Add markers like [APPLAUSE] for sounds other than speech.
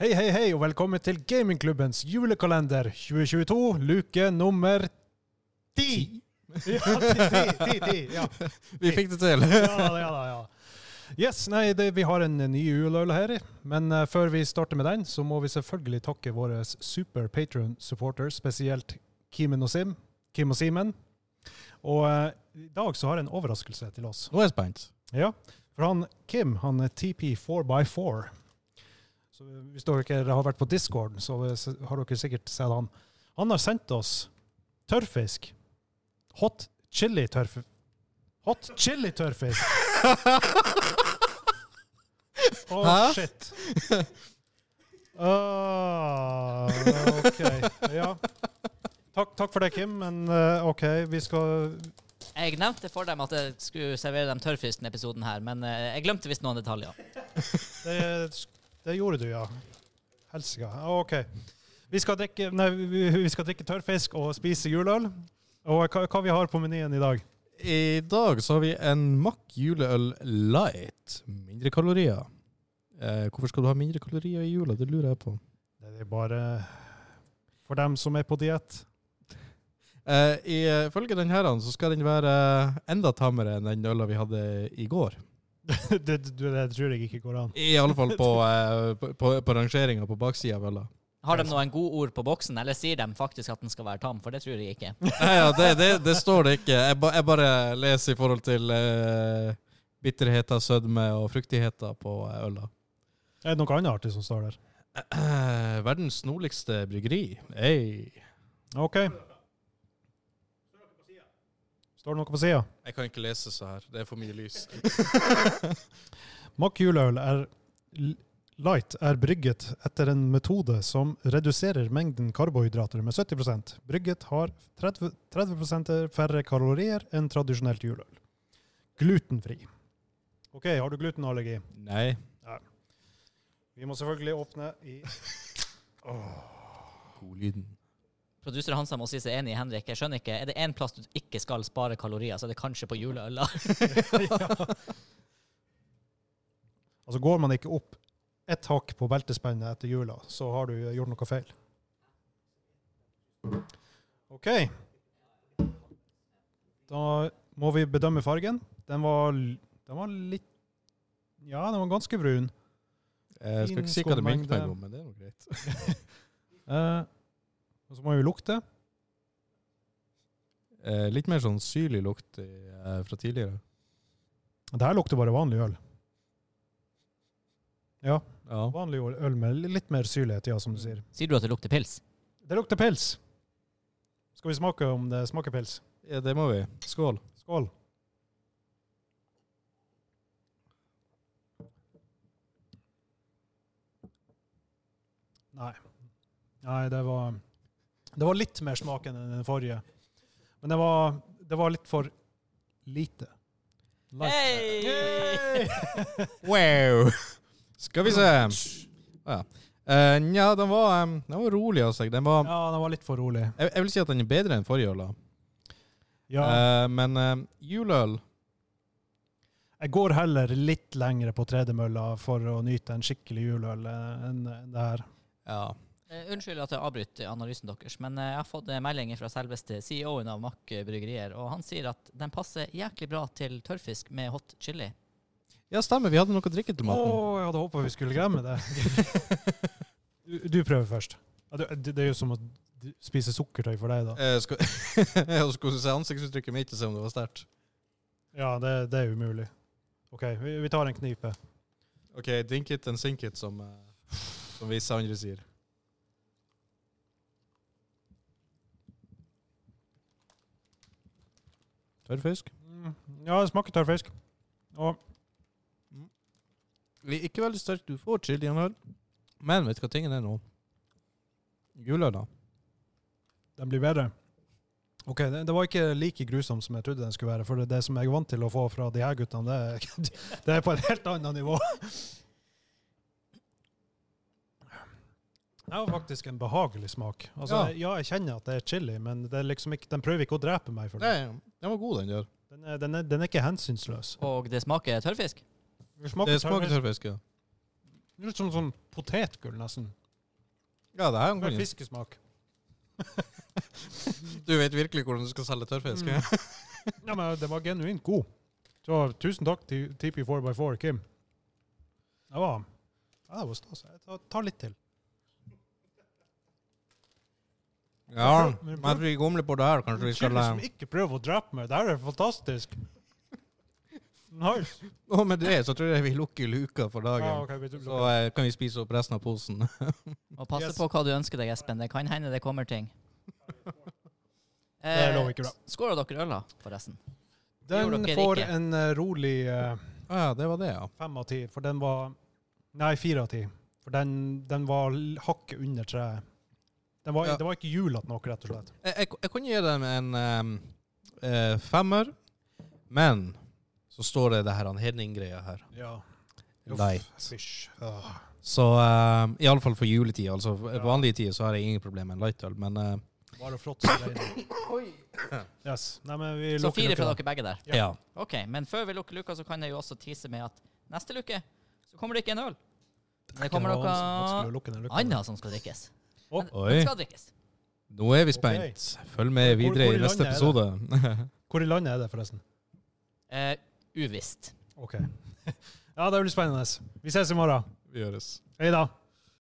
Hei, hei, hei, og velkommen til Gamingklubbens julekalender 2022, luke nummer ti! [LAUGHS] Ja, ti, ti, ti, ti, ja. Vi fikk det til. ja da, ja da, ja. Yes, nei, det, vi har en ny juleøl her, men eh, før vi starter med den, så må vi selvfølgelig takke våre super patron supporters, spesielt Kimen og Sim, Kim og Simen. Og eh, i dag så har jeg en overraskelse til oss. Nå er jeg spent. Ja, for han Kim, han er TP4x4. Så hvis dere har vært på Discord, så har dere sikkert sett han. Han har sendt oss tørrfisk. Hot chili tørrfisk. Hot chili tørrfisk. Å, Hæ? Oh, shit. [LAUGHS] Ah, OK. Ja. Takk, takk for det, Kim, men eh, OK, vi skal Jeg nevnte for dem at jeg skulle servere dem tørrfisk denne episoden her, men eh, jeg glemte visst noen detaljer. Det, det gjorde du, ja. Helsika. OK. Vi skal drikke, nei, vi- vi skal drikke tørrfisk og spise juleøl. Og hva, hva vi har på menyen i dag? I dag så har vi en Mack juleøl light. Mindre kalorier. Eh, hvorfor skal du ha mindre kalorier i jula? Det lurer jeg på. Det er bare for dem som er på diett. [LAUGHS] Eh, Ifølge den her så skal den være enda tammere enn den øla vi hadde i går. det, det, det tror jeg ikke går an. I alle fall på, eh, på, på, på rangeringa på baksida av øla. Har de noen gode ord på boksen, eller sier de faktisk at den skal være tam? For det tror jeg ikke. Nei, ja, det, det, det står det ikke. Jeg, ba, jeg bare leser i forhold til eh, bitterheter, sødme og fruktigheter på eh, øla. Er det noe annet artig som står der? Eh, [CLEARS THROAT] Verdens nordligste bryggeri. Hey. OK. Står det noe på sida? Jeg kan ikke lese så her. Det er for mye lys. Mack juleøl er l- light er brygget etter en metode som reduserer mengden karbohydrater med 70 Brygget har 30, 30 færre kalorier enn tradisjonelt juleøl. Glutenfri. OK, har du glutenallergi? Nei. Vi må selvfølgelig åpne i Godlyden. Produser Hansa må si seg enig i Henrik. Jeg skjønner ikke. Er det én plass du ikke skal spare kalorier, så er det kanskje på juleøla. [LAUGHS] Altså, går man ikke opp ett hakk på beltespennet etter jula, så har du gjort noe feil. OK. Da må vi bedømme fargen. Den var, l- den var litt Ja, den var ganske brun. Jeg Eh, skal ikke si hva det minner meg om, men det er noe greit. Eh, og så må vi lukte. Eh, litt mer sånn syrlig lukt i, eh, fra tidligere. Det her lukter bare vanlig øl. Ja. Vanlig øl med li- litt mer syrlighet, ja, som du sier. Sier du at det lukter pils? Det lukter pils. Skal vi smake om det smaker pils? ja, det må vi. Skål. Skål. Nei. Nei, det var Det var litt mer smaken enn den forrige. Men det var, det var litt for lite. Light. Hei! Wow! Skal vi se. Ah, ja. Eh, Nja, den var, em, den var rolig av seg. Den var, Ja, den var litt for rolig. jeg, jeg vil si at den er bedre enn forrige øla. Ja, Eh, men eh, juleøl jeg går heller litt lengre på tredemølla for å nyte en skikkelig juleøl eh, enn enn det her. Ja. Eh, Unnskyld at jeg avbryter analysen deres, men eh, jeg har fått eh, melding fra selveste CEO-en av Mack Bryggerier, og han sier at den passer jæklig bra til tørrfisk med hot chili. ja, stemmer. Vi hadde noe å drikke til Å, maten. jeg hadde håpa vi skulle glemme det. Du, du prøver først. Ja, du- Det, det er jo som å d- spise sukkertøy for deg, da. Eh, skal, [LAUGHS] jeg skulle se ansiktsuttrykket mitt og se om det var sterkt. Ja, det, det er umulig. OK, vi, vi tar en knipe. OK, drink it and sink it, som, eh, som visse andre sier. Tørrfisk? Mm, Ja, det smaker tørrfisk. Og Ikke veldig sterkt. Du får chilien her. Men vet du hva tingen er nå? Guløla. den blir bedre. OK, det, det var ikke like grusom som jeg trodde den skulle være. For det, det som jeg er vant til å få fra de her guttene, det, er- [LAUGHS] det er på et helt annet nivå. Det var faktisk en behagelig smak. Altså, Ja. ja. ja, jeg kjenner at det er chili, men det er liksom ikke, den prøver ikke å drepe meg for det. Nei, den var god, den der. Den er, den er, den er ikke hensynsløs. Og det smaker tørrfisk. Det smaker, Det smaker tørrfisk, tørrfisk, ja. Litt som sånn potetgull, nesten. Ja, det her Med fiskesmak. Du vet virkelig hvordan du skal selge tørrfisk. Mm. Ja, men det var genuint god. Så tusen takk til TP 4x4, Kim. Det var ja, det var stas. Jeg tar, tar litt til. [LAUGHS] Ja, men at vi gomler på det her, kanskje vi skal Chili som ikke prøver å drepe meg. Det her er fantastisk. Nice. Og med det så tror jeg vi lukker luka for Ja, dagen. ok, vi Så eh, kan vi spise opp resten av posen. Og passe Yes. på hva du ønsker deg, Espen. Det kan hende det kommer ting. [LAUGHS] Det lover ikke bra. Skåra dere øl, da, forresten? gjorde Den dere får ikke. en eh, rolig eh, Å Ah, ja, det var det, ja. fem av ti, for den var Nei, fire av ti. For den, den var l- hakket under treet. Den var, Ja. Det var ikke hjulete nok, rett og slett. Jeg, jeg, jeg kunne gi dem en eh, eh, femmer, men så står det det her han Hedning-greia her. Ja. Light. Fysj. Åh. Så uh, iallfall for juletid. Altså Ja. vanlige tider så har jeg ingen problemer med lightøl, men eh, Bare flott som det er. Yes. Nei, men vi Så lukker fire fra luka. dere begge der. Ja. ja. Ok, Men før vi lukker luka, så kan jeg jo også tease med at neste luke så kommer det ikke en øl. Men det kommer var vanskelig å noe lukke den luka. annet som skal drikkes. Å, Oi. Det skal drikkes. Nå er vi spent. Følg med Hvor- videre hvor i i neste landet er det? episode. [LAUGHS] Hvor i landet er det, forresten? Eh, uvisst. [LAUGHS] OK. Ja, det blir spennende. Vi ses i morgen. vi gjøres. Hei da.